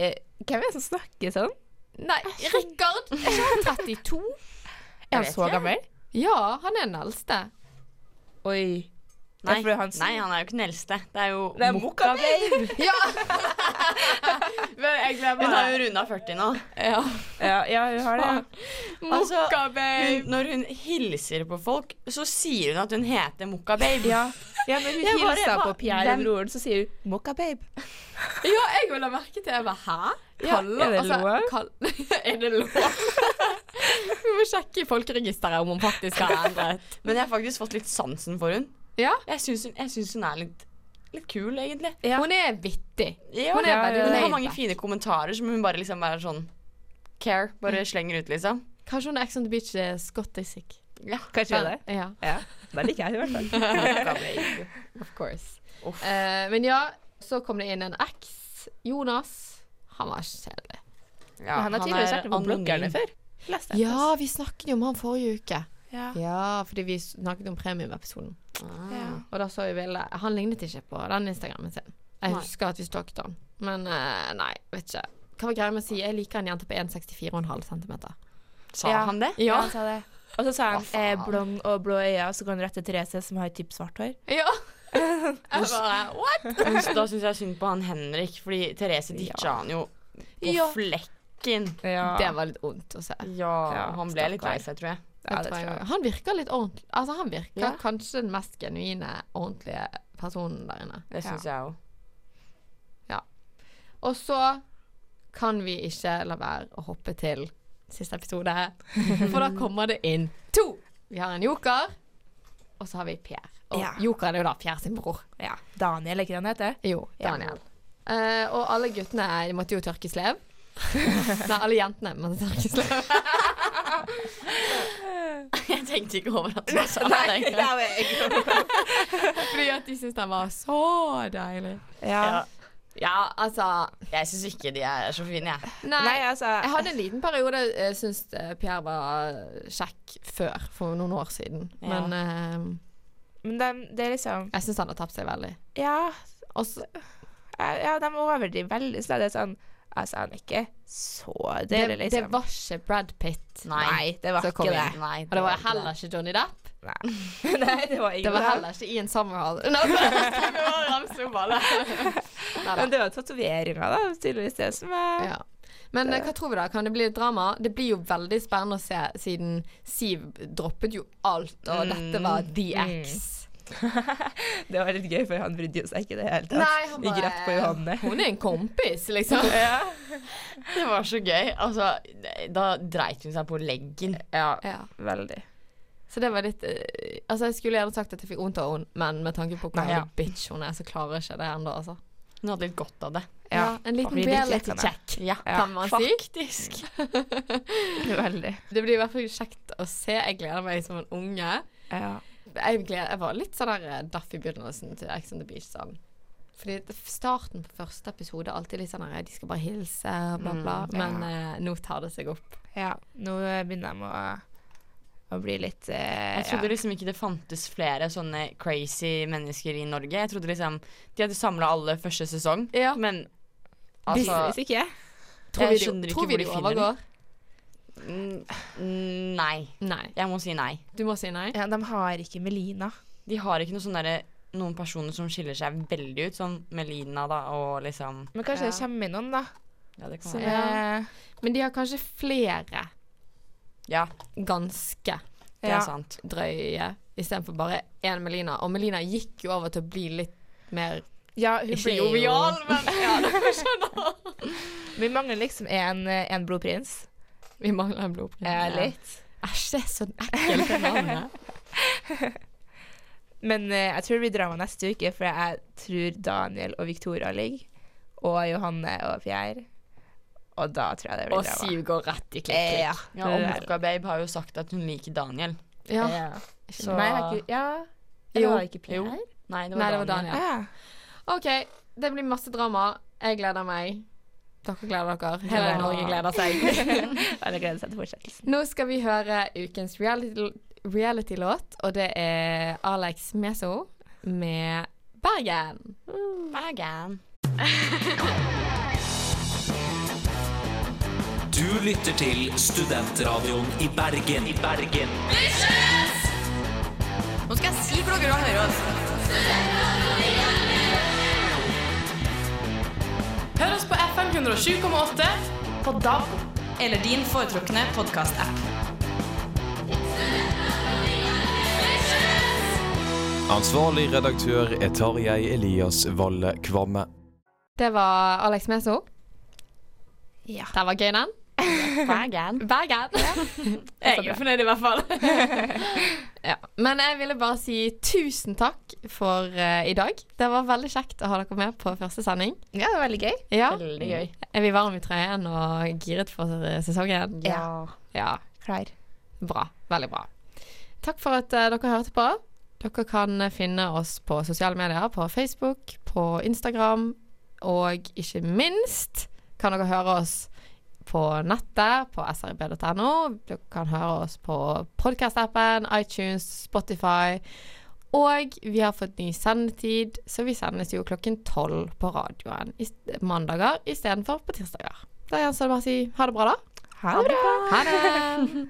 Speaker 8: Hvem er det som snakker sånn?
Speaker 7: Nei, Rikard! Er ikke han 32?
Speaker 8: Er han
Speaker 10: vet
Speaker 8: så
Speaker 10: ikke.
Speaker 8: gammel?
Speaker 7: Ja, han er den eldste.
Speaker 8: Oi.
Speaker 10: Nei.
Speaker 8: Ja, for det er han som-
Speaker 10: Nei, han er jo ikke den eldste. Det er jo
Speaker 8: Det er Mokka Babe!
Speaker 7: Ja!
Speaker 10: Hun har jo runda 40 nå.
Speaker 7: ja.
Speaker 8: ja, ja, hun har det. ja.
Speaker 10: Altså,
Speaker 7: Mokka babe.
Speaker 10: hun, når hun hilser på folk, så sier hun at hun heter Mokka Babe.
Speaker 8: Ja, ja men hun
Speaker 7: Jeg bare-
Speaker 8: hilsa på
Speaker 7: hva-
Speaker 8: Pierre,
Speaker 7: hvem-
Speaker 8: broren, så sier hun 'Mokka Babe'.
Speaker 7: ja, jeg vil ha merket det. Jeg bare, hæ? Kaller,
Speaker 8: er det lov?
Speaker 7: altså, kall, er det lov? Vi må sjekke i folkeregisteret om hun faktisk har endret.
Speaker 10: Men jeg har faktisk fått litt sansen for hun.
Speaker 7: Ja.
Speaker 10: Jeg syns hun, jeg syns hun er litt, litt kul, egentlig.
Speaker 8: Ja.
Speaker 7: Hun er vittig.
Speaker 10: Ja,
Speaker 7: Hun er
Speaker 10: ja,
Speaker 7: veldig
Speaker 10: ja. Hun har
Speaker 7: laid
Speaker 10: mange
Speaker 7: back.
Speaker 10: fine kommentarer som hun bare liksom er sånn Care. Bare slenger ut, liksom.
Speaker 7: Kanskje hun er Ex on the Beach eh, skottisik.
Speaker 10: Ja.
Speaker 8: Kanskje hun er det?
Speaker 7: Ja,
Speaker 8: Ja. Da liker jeg henne i hvert fall.
Speaker 7: of course.
Speaker 10: Uff.
Speaker 7: Eh, men ja, så kom det inn en eks. Jonas. Han var kjedelig.
Speaker 10: Ja,
Speaker 8: han har tydeligvis
Speaker 10: er
Speaker 8: vært med på
Speaker 10: anonym.
Speaker 8: bloggerne før. Leste jeg
Speaker 7: Ja, vi snakket jo om han forrige uke.
Speaker 8: Ja.
Speaker 7: Ja, fordi vi snakket om premiumepisoden.
Speaker 8: Ja.
Speaker 7: Og da så vi bildet. Han lignet ikke på den Instagrammen sin. Jeg husker at vi stalket han. Men eh, nei, vet ikke. Hva var greia med å si? Jeg liker en jente på 1,64,5 cm.
Speaker 10: Sa
Speaker 8: Ja.
Speaker 10: han det?
Speaker 8: Ja,
Speaker 7: Ja.
Speaker 8: han sa det. Og så sa han eh, blond og blå øyne, og så går han rett til Therese, som har typ svart hår.
Speaker 7: Ja. Jeg bare, what?
Speaker 10: Men Da syns jeg synd på han Henrik, fordi Therese ditcha han jo på
Speaker 7: Ja.
Speaker 10: flekken.
Speaker 7: Det var litt vondt å se.
Speaker 10: Ja, han ble litt lei
Speaker 8: stakkar.
Speaker 10: seg, tror jeg.
Speaker 8: Ja,
Speaker 7: det
Speaker 8: det tror jeg.
Speaker 7: Han virker litt ordentlig. Altså, han virker
Speaker 10: Ja.
Speaker 7: kanskje den mest genuine, ordentlige personen der inne.
Speaker 10: Det syns jeg òg.
Speaker 7: Og så kan vi ikke la være å hoppe til siste episode, for da kommer det inn to. Vi har en joker, og så har vi Pierre. Og
Speaker 8: Ja.
Speaker 7: jokeren er jo da Pierre sin bror.
Speaker 8: Ja. Daniel, er ikke det han heter?
Speaker 7: Jo,
Speaker 8: Ja.
Speaker 7: Daniel. Eh, og alle guttene de måtte jo tørke slev. Nei, alle jentene måtte tørke slev.
Speaker 10: Jeg tenkte ikke over at du sa det. egentlig.
Speaker 7: Fordi at de syntes den var så deilig.
Speaker 8: Ja.
Speaker 7: Ja, altså
Speaker 10: Jeg syns ikke de er så fine, jeg.
Speaker 7: Nei,
Speaker 8: Nei, altså
Speaker 7: Jeg hadde en liten periode jeg syntes eh, Pierre var kjekk før, for noen år siden.
Speaker 10: Ja.
Speaker 7: Men eh,
Speaker 8: Men de, det er liksom
Speaker 7: jeg syns han har tapt seg veldig.
Speaker 8: Ja,
Speaker 7: Og så-
Speaker 8: eh, ja de overdriver veldig. Så det er sånn Altså, han er ikke så
Speaker 7: det,
Speaker 8: deilig,
Speaker 7: det
Speaker 8: liksom.
Speaker 7: var ikke Brad Pitt.
Speaker 8: Nei, det var
Speaker 7: som kom
Speaker 8: ikke det.
Speaker 7: inn.
Speaker 10: Nei,
Speaker 7: Og det var heller ikke Johnny Depp.
Speaker 8: Nei, det var
Speaker 7: Det
Speaker 8: ingen
Speaker 7: var
Speaker 8: av dem.
Speaker 7: heller ikke Ian Summerhall. Nei, vi bare ramser opp alle. Neida.
Speaker 8: Men det var tatoveringa, da, tydeligvis det som er
Speaker 7: Ja. Men eh, hva tror vi da? Kan det bli et drama? Det blir jo veldig spennende å se, siden Siv droppet jo alt, og
Speaker 8: Mm.
Speaker 7: dette var The X.
Speaker 8: Det var litt gøy, for han brydde jo seg ikke i det hele tatt.
Speaker 7: Nei, han
Speaker 8: Gikk
Speaker 7: bare-
Speaker 8: rett på Johanne.
Speaker 7: Hun er en kompis, liksom.
Speaker 10: Det var så gøy. Altså, da dreit hun seg på leggen.
Speaker 8: Ja,
Speaker 7: Ja.
Speaker 8: veldig.
Speaker 7: Så det var litt eh, Altså, jeg skulle gjerne sagt at jeg fikk vondt av henne, men med tanke på hvor
Speaker 8: Nei, ja.
Speaker 7: jævlig bitch hun er, så klarer jeg ikke det ennå, altså.
Speaker 10: Hun hadde litt godt av det.
Speaker 7: Ja, en liten
Speaker 8: Vi liker
Speaker 7: reality
Speaker 8: henne.
Speaker 7: check,
Speaker 10: Ja.
Speaker 7: kan man si.
Speaker 10: Faktisk.
Speaker 8: Veldig.
Speaker 7: Det blir i hvert fall kjekt å se. Jeg gleder meg som en unge.
Speaker 8: Ja.
Speaker 7: Jeg, gleder, jeg var litt sånn der eh, daff i begynnelsen til Ex on the Beach. Sånn. Fordi det- starten på første episode er alltid litt sånn der, De skal bare hilse, bla, bla.
Speaker 10: Mm,
Speaker 7: Men eh, nå tar det seg opp.
Speaker 8: ja. Nå eh, begynner jeg med å, å bli litt eh,
Speaker 10: Jeg trodde liksom ikke det fantes flere sånne crazy mennesker i Norge. Jeg trodde liksom De hadde samla alle første sesong,
Speaker 7: Ja.
Speaker 10: men
Speaker 8: Visstvis
Speaker 10: altså
Speaker 8: ikke.
Speaker 7: Tror
Speaker 10: Jeg
Speaker 7: vi
Speaker 10: skjønner
Speaker 7: de,
Speaker 10: ikke
Speaker 7: tror
Speaker 10: hvor
Speaker 7: vi
Speaker 10: de
Speaker 7: de
Speaker 10: finner den.
Speaker 7: overgår?
Speaker 10: mm, Nei.
Speaker 7: Nei.
Speaker 10: Jeg må si nei.
Speaker 7: Du må si nei?
Speaker 8: Ja, de har ikke Melina.
Speaker 10: De har ikke noe sånn derre noen personer som skiller seg veldig ut, som Melina da, og liksom
Speaker 8: Men kanskje det kommer inn noen, da.
Speaker 10: Ja, det kan
Speaker 7: Så-
Speaker 10: være.
Speaker 7: Ja.
Speaker 8: Eh,
Speaker 7: Men de har kanskje flere
Speaker 10: Ja,
Speaker 7: ganske
Speaker 10: det
Speaker 8: Ja.
Speaker 10: er sant.
Speaker 7: drøye istedenfor bare én Melina. Og Melina gikk jo over til å bli litt mer
Speaker 8: ja, hun
Speaker 7: Ikke
Speaker 8: blir jo
Speaker 7: jovial,
Speaker 8: men Vi mangler liksom en, eh, en blodprins.
Speaker 7: Vi mangler en blodprins.
Speaker 8: Eh, litt.
Speaker 7: Æsj, det er så ekkelt det navnet.
Speaker 8: Men eh, jeg tror det blir drama neste uke, for jeg tror Daniel og Victoria ligger. Og Johanne og Pierre. Og da tror jeg det blir
Speaker 7: Og
Speaker 8: drama.
Speaker 7: Siv går rett i
Speaker 8: Eh, ja.
Speaker 7: klikk.
Speaker 10: Ja, oh og Mokka Babe har jo sagt at hun liker Daniel.
Speaker 7: Ja.
Speaker 8: ja.
Speaker 10: Så
Speaker 8: Nei, det er ikke Ja.
Speaker 7: Jo.
Speaker 8: Eller var det ikke Pierre?
Speaker 10: Jo. Nei, det var
Speaker 7: Nei, det var
Speaker 10: Daniel.
Speaker 7: Daniel.
Speaker 8: Ah,
Speaker 7: OK, det blir masse drama. Jeg gleder meg. Dere gleder dere. Hele
Speaker 8: Ja.
Speaker 7: Norge
Speaker 10: Altså,
Speaker 7: gleder seg.
Speaker 8: ja. Eller gleder seg til fortsettelsen.
Speaker 7: Nå skal vi høre ukens reality- reality-låt, og det er Alex Meso med Bergen.
Speaker 10: Bergen.
Speaker 9: Du lytter til Studentradioen i Bergen. I Bergen.
Speaker 10: Nå skal jeg si for dere å høre oss. Hør oss på FM 107,8 på DAB eller din foretrukne podkast-app.
Speaker 3: Ansvarlig redaktør er Tarjei Elias Valle Kvamme.
Speaker 7: Det var Alex Meso.
Speaker 8: Ja.
Speaker 7: Den var gøy, den.
Speaker 10: Bergen.
Speaker 7: Bergen. jeg er fornøyd i hvert fall. ja. Men jeg ville bare si tusen takk for eh, i dag. Det var veldig kjekt å ha dere med på første sending.
Speaker 8: Ja, det var veldig gøy.
Speaker 7: Ja.
Speaker 10: Veldig gøy.
Speaker 7: Er vi varme i trøyen og giret for eh, sesongen?
Speaker 8: Ja.
Speaker 7: Ja.
Speaker 8: Klar.
Speaker 7: Bra. Veldig bra. Takk for at eh, dere hørte på. Dere kan eh, finne oss på sosiale medier, på Facebook, på Instagram, og ikke minst kan dere høre oss på nettet, på srib.no. Dere kan høre oss på podkast-appen, iTunes, Spotify. Og vi har fått ny sendetid, så vi sendes jo klokken tolv på radioen i st- mandager istedenfor på tirsdager. Da gjenstår det bare å si ha det bra, da.
Speaker 8: Ha det bra.
Speaker 7: Ha det!